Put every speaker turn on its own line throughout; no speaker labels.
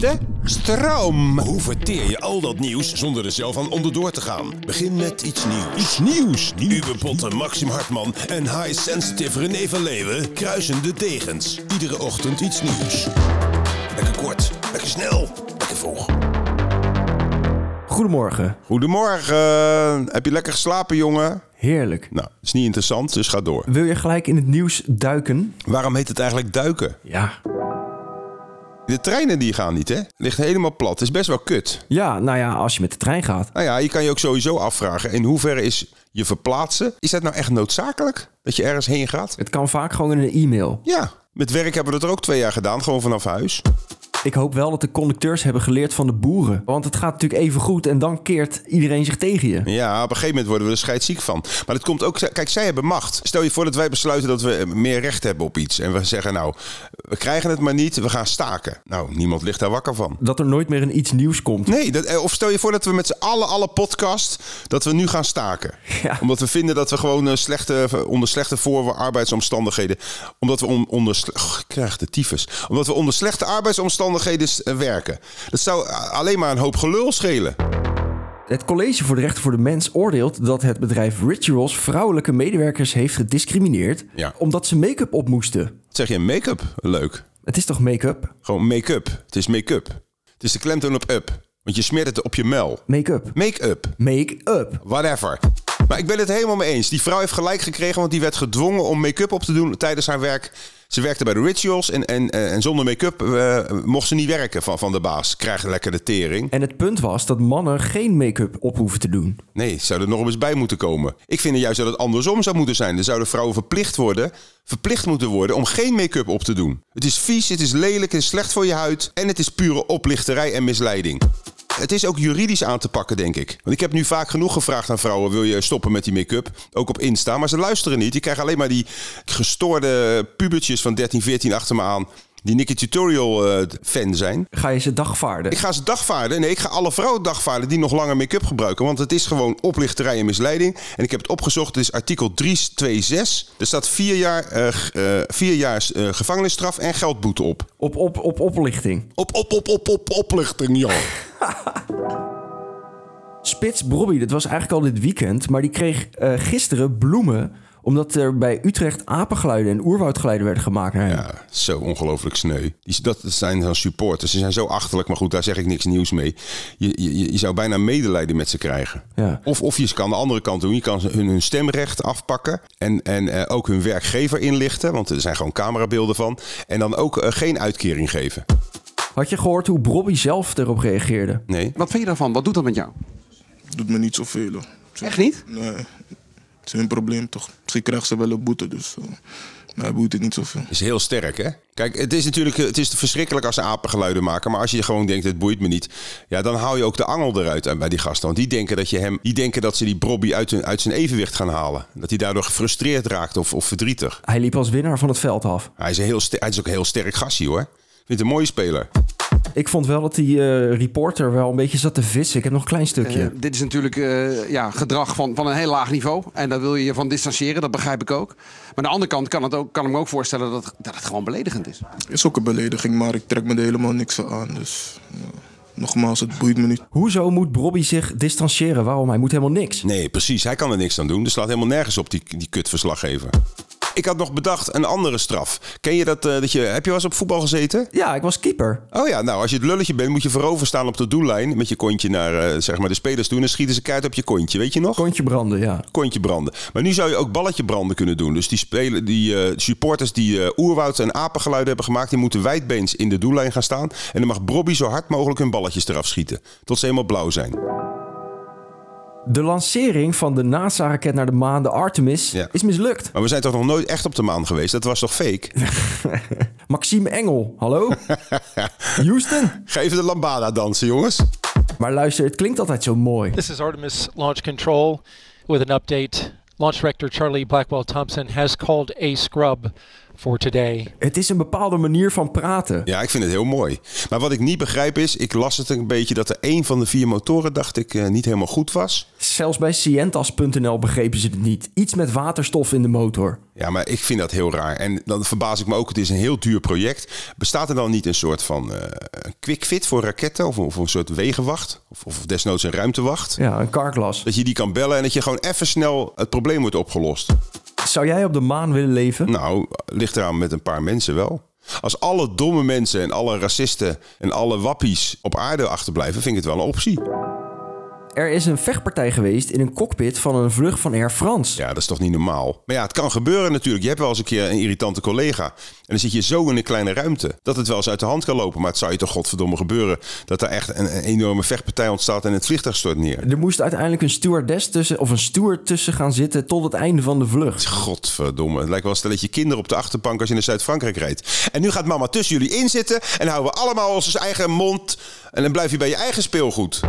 De stroom.
Hoe verteer je al dat nieuws zonder er zelf aan onderdoor te gaan? Begin met iets nieuws.
Iets nieuws.
Uwe Potten, Maxim Hartman en high-sensitive René van Leeuwen kruisen de degens. Iedere ochtend iets nieuws. Lekker kort, lekker snel, lekker vroeg.
Goedemorgen.
Goedemorgen. Heb je lekker geslapen, jongen?
Heerlijk.
Nou, is niet interessant, dus ga door.
Wil je gelijk in het nieuws duiken?
Waarom heet het eigenlijk duiken?
Ja.
De treinen die gaan niet, hè? Ligt helemaal plat. Is best wel kut.
Ja, nou ja, als je met de trein gaat.
Nou ja, je kan je ook sowieso afvragen. In hoeverre is je verplaatsen... Is dat nou echt noodzakelijk? Dat je ergens heen gaat?
Het kan vaak gewoon in een e-mail.
Ja. Met werk hebben we dat er ook twee jaar gedaan. Gewoon vanaf huis.
Ik hoop wel dat de conducteurs hebben geleerd van de boeren. Want het gaat natuurlijk even goed en dan keert iedereen zich tegen je.
Ja, op een gegeven moment worden we er scheidsziek van. Maar dat komt ook... Kijk, zij hebben macht. Stel je voor dat wij besluiten dat we meer recht hebben op iets. En we zeggen nou, we krijgen het maar niet, we gaan staken. Nou, niemand ligt daar wakker van.
Dat er nooit meer een iets nieuws komt.
Nee, dat, eh, of stel je voor dat we met z'n allen, alle podcast, dat we nu gaan staken.
Ja.
Omdat we vinden dat we gewoon eh, slechte, onder slechte voor arbeidsomstandigheden, omdat we on- onder, sle- Goh, ik krijg de tyfus, omdat we onder slechte arbeidsomstandigheden eh, werken. Dat zou eh, alleen maar een hoop gelul schelen.
Het College voor de Rechten voor de Mens oordeelt dat het bedrijf Rituals vrouwelijke medewerkers heeft gediscrimineerd.
Ja.
Omdat ze make-up op moesten.
Wat zeg je, make-up? Leuk.
Het is toch make-up?
Gewoon make-up. Het is make-up. Het is de klemtoon op up. Want je smeert het op je mel.
Make-up.
Make-up.
Make-up.
Whatever. Maar ik ben het helemaal mee eens. Die vrouw heeft gelijk gekregen, want die werd gedwongen om make-up op te doen tijdens haar werk. Ze werkte bij de rituals en, en, en zonder make-up eh, mocht ze niet werken van, van de baas. Krijg lekker de tering.
En het punt was dat mannen geen make-up op hoeven te doen.
Nee, zou er nog eens bij moeten komen. Ik vind juist dat het andersom zou moeten zijn. Dan zouden vrouwen verplicht worden, verplicht moeten worden om geen make-up op te doen. Het is vies, het is lelijk, het is slecht voor je huid en het is pure oplichterij en misleiding. Het is ook juridisch aan te pakken, denk ik. Want ik heb nu vaak genoeg gevraagd aan vrouwen: wil je stoppen met die make-up? Ook op Insta. Maar ze luisteren niet. Je krijgt alleen maar die gestoorde pubertjes van 13, 14 achter me aan. Die Nicky Tutorial eh, fan zijn.
Ga je ze dagvaarden?
Ik ga ze dagvaarden. Nee, ik ga alle vrouwen dagvaarden die nog langer make-up gebruiken. Want het is gewoon oplichterij en misleiding. En ik heb het opgezocht. Het is artikel 326. Er staat vier jaar, eh, g- eh, vier jaar eh, gevangenisstraf en geldboete op.
Op, op, op oplichting.
Op, op, op, op, op, oplichting, joh.
Spits Brobby, dat was eigenlijk al dit weekend, maar die kreeg eh, gisteren bloemen omdat er bij Utrecht apengeluiden en oerwoudgeluiden werden gemaakt naar hem.
Ja, zo ongelooflijk sneu. Die, dat zijn dan supporters. Ze zijn zo achterlijk, maar goed, daar zeg ik niks nieuws mee. Je, je, je zou bijna medelijden met ze krijgen.
Ja.
Of, of je kan de andere kant doen. Je kan ze hun, hun stemrecht afpakken. En, en eh, ook hun werkgever inlichten. Want er zijn gewoon camerabeelden van. En dan ook eh, geen uitkering geven.
Had je gehoord hoe Brobby zelf erop reageerde?
Nee.
Wat vind je daarvan? Wat doet dat met jou?
doet me niet zoveel. hoor. Het is-
Echt niet?
Nee, het is hun probleem toch. Misschien krijgen ze wel een boete, dus eh, mij boeit het niet zoveel.
is heel sterk, hè? Kijk, het is natuurlijk het is verschrikkelijk als ze apengeluiden maken. Maar als je gewoon denkt, het boeit me niet. Ja, dan haal je ook de angel eruit aan bij die gasten. Want die denken dat, je hem, die denken dat ze die Brobby uit, hun- uit zijn evenwicht gaan halen. Dat hij daardoor gefrustreerd raakt of, of verdrietig.
Hij liep als winnaar van het veld af.
Hij is, een heel ster- hij is ook een heel sterk gastie, hoor. Ik vind het een mooie speler.
Ik vond wel dat die eh, reporter wel een beetje zat te vissen. Ik heb nog een klein stukje.
Eh, dit is natuurlijk eh, ja, gedrag van, van een heel laag niveau. En daar wil je je van distancieren, dat begrijp ik ook. Maar aan de andere kant kan, het ook, kan ik me ook voorstellen dat, dat het gewoon beledigend is.
Is ook een belediging, maar ik trek me er helemaal niks van aan. Dus ja, nogmaals, het boeit me niet.
Hoezo moet Brobby zich distancieren? Waarom? Hij moet helemaal niks.
Nee, precies. Hij kan er niks aan doen. Dus slaat helemaal nergens op die, die kutverslaggever. Ik had nog bedacht een andere straf. Ken je dat? eh, dat je, heb je wel eens op voetbal gezeten?
Ja, ik was keeper.
Oh ja, nou, als je het lulletje bent, moet je voorover staan op de doellijn. Met je kontje naar eh, zeg maar de spelers toe. En dan schieten ze kaart op je kontje, weet je nog?
Kontje branden, ja.
kontje branden. Maar nu zou je ook balletje branden kunnen doen. Dus die, spelen, die eh, supporters die eh, oerwoud en apengeluiden hebben gemaakt... die moeten wijdbeens in de doellijn gaan staan. En dan mag Bobby zo hard mogelijk hun balletjes eraf schieten. Tot ze helemaal blauw zijn.
De lancering van de NASA-raket naar de maan, de Artemis,
Ja.
is mislukt.
Maar we zijn toch nog nooit echt op de maan geweest? Dat was toch fake?
Maxime Engel, hallo? Houston?
Ga even de lambada dansen, jongens.
Maar luister, het klinkt altijd zo mooi.
This is Artemis Launch Control with an update. Launch Director Charlie Blackwell Thompson has called a scrub for today.
Het is een bepaalde manier van praten.
Ja, ik vind het heel mooi. Maar wat ik niet begrijp is... ik las het een beetje dat er één van de vier motoren... dacht ik eh, niet helemaal goed was.
Zelfs bij Cientas.nl begrepen ze het niet. Iets met waterstof in de motor.
Ja, maar ik vind dat heel raar. En dan verbaas ik me ook, het is een heel duur project. Bestaat er dan niet een soort van eh, een quick fit voor raketten? Of, of een soort wegenwacht? Of, of desnoods een ruimtewacht?
Ja, een karklas.
Dat je die kan bellen en dat je gewoon even snel het probleem wordt opgelost.
Zou jij op de maan willen leven?
Nou, ligt eraan met een paar mensen wel. Als alle domme mensen en alle racisten en alle wappies op aarde achterblijven, vind ik het wel een optie.
Er is een vechtpartij geweest in een cockpit van een vlucht van Air France.
Ja, dat is toch niet normaal? Maar ja, het kan gebeuren natuurlijk. Je hebt wel eens een keer een irritante collega. En dan zit je zo in een kleine ruimte. Dat het wel eens uit de hand kan lopen. Maar het zou je toch godverdomme gebeuren. Dat daar echt een, een enorme vechtpartij ontstaat en het vliegtuig stort neer.
Er moest uiteindelijk een stewardess tussen, of een steward tussen gaan zitten tot het einde van de vlucht.
Godverdomme. Het lijkt wel een stelletje kinderen op de achterbank als je naar Zuid-Frankrijk rijdt. En nu gaat mama tussen jullie inzitten. En houden we allemaal onze eigen mond. En dan blijf je bij je eigen speelgoed.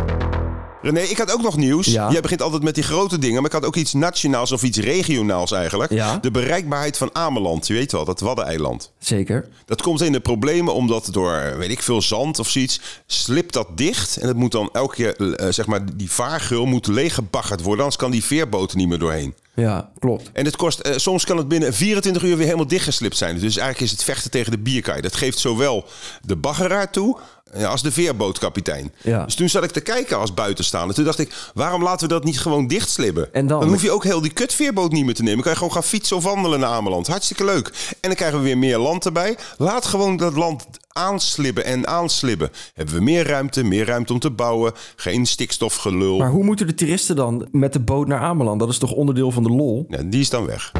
René, ik had ook nog nieuws.
Ja.
Jij begint altijd met die grote dingen, maar ik had ook iets nationaals of iets regionaals eigenlijk.
Ja.
De bereikbaarheid van Ameland, je weet wel, dat Waddeneiland.
Zeker.
Dat komt in de problemen omdat door, weet ik veel, zand of zoiets, slipt dat dicht. En dat moet dan elke keer, eh, zeg maar, die vaargeul moet leeggebaggerd worden. Anders kan die veerboot er niet meer doorheen.
Ja, klopt.
En het kost, eh, soms kan het binnen 24 uur weer helemaal dichtgeslipt zijn. Dus eigenlijk is het vechten tegen de bierkaai. Dat geeft zowel de baggeraar toe eh, als de veerbootkapitein.
Ja.
Dus toen zat ik te kijken als buitenstaander. Toen dacht ik, waarom laten we dat niet gewoon dichtslippen?
En dan-
hoef je ook heel die kutveerboot niet meer te nemen. Dan kan je gewoon gaan fietsen of wandelen naar Ameland. Hartstikke leuk. En dan krijgen we weer meer land erbij. Laat gewoon dat land aanslibben en aanslibben. Hebben we meer ruimte, meer ruimte om te bouwen. Geen stikstofgelul.
Maar hoe moeten de toeristen dan met de boot naar Ameland? Dat is toch onderdeel van de lol?
Ja, die is dan weg.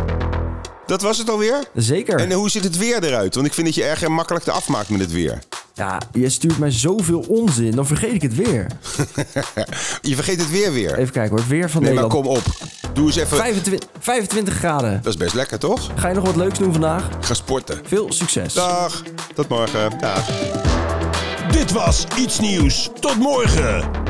Dat was het alweer?
Zeker.
En hoe ziet het weer eruit? Want ik vind dat je erg makkelijk eraf maakt met het weer.
Ja, je stuurt mij zoveel onzin, dan vergeet ik het weer.
je vergeet het weer weer.
Even kijken hoor, het weer van
nee, maar
Nederland.
kom op. Doe eens even.
25, 25 graden.
Dat is best lekker, toch?
Ga je nog wat leuks doen vandaag?
Ik ga sporten.
Veel succes.
Dag. Tot morgen. Dag.
Dit was Iets Nieuws. Tot morgen.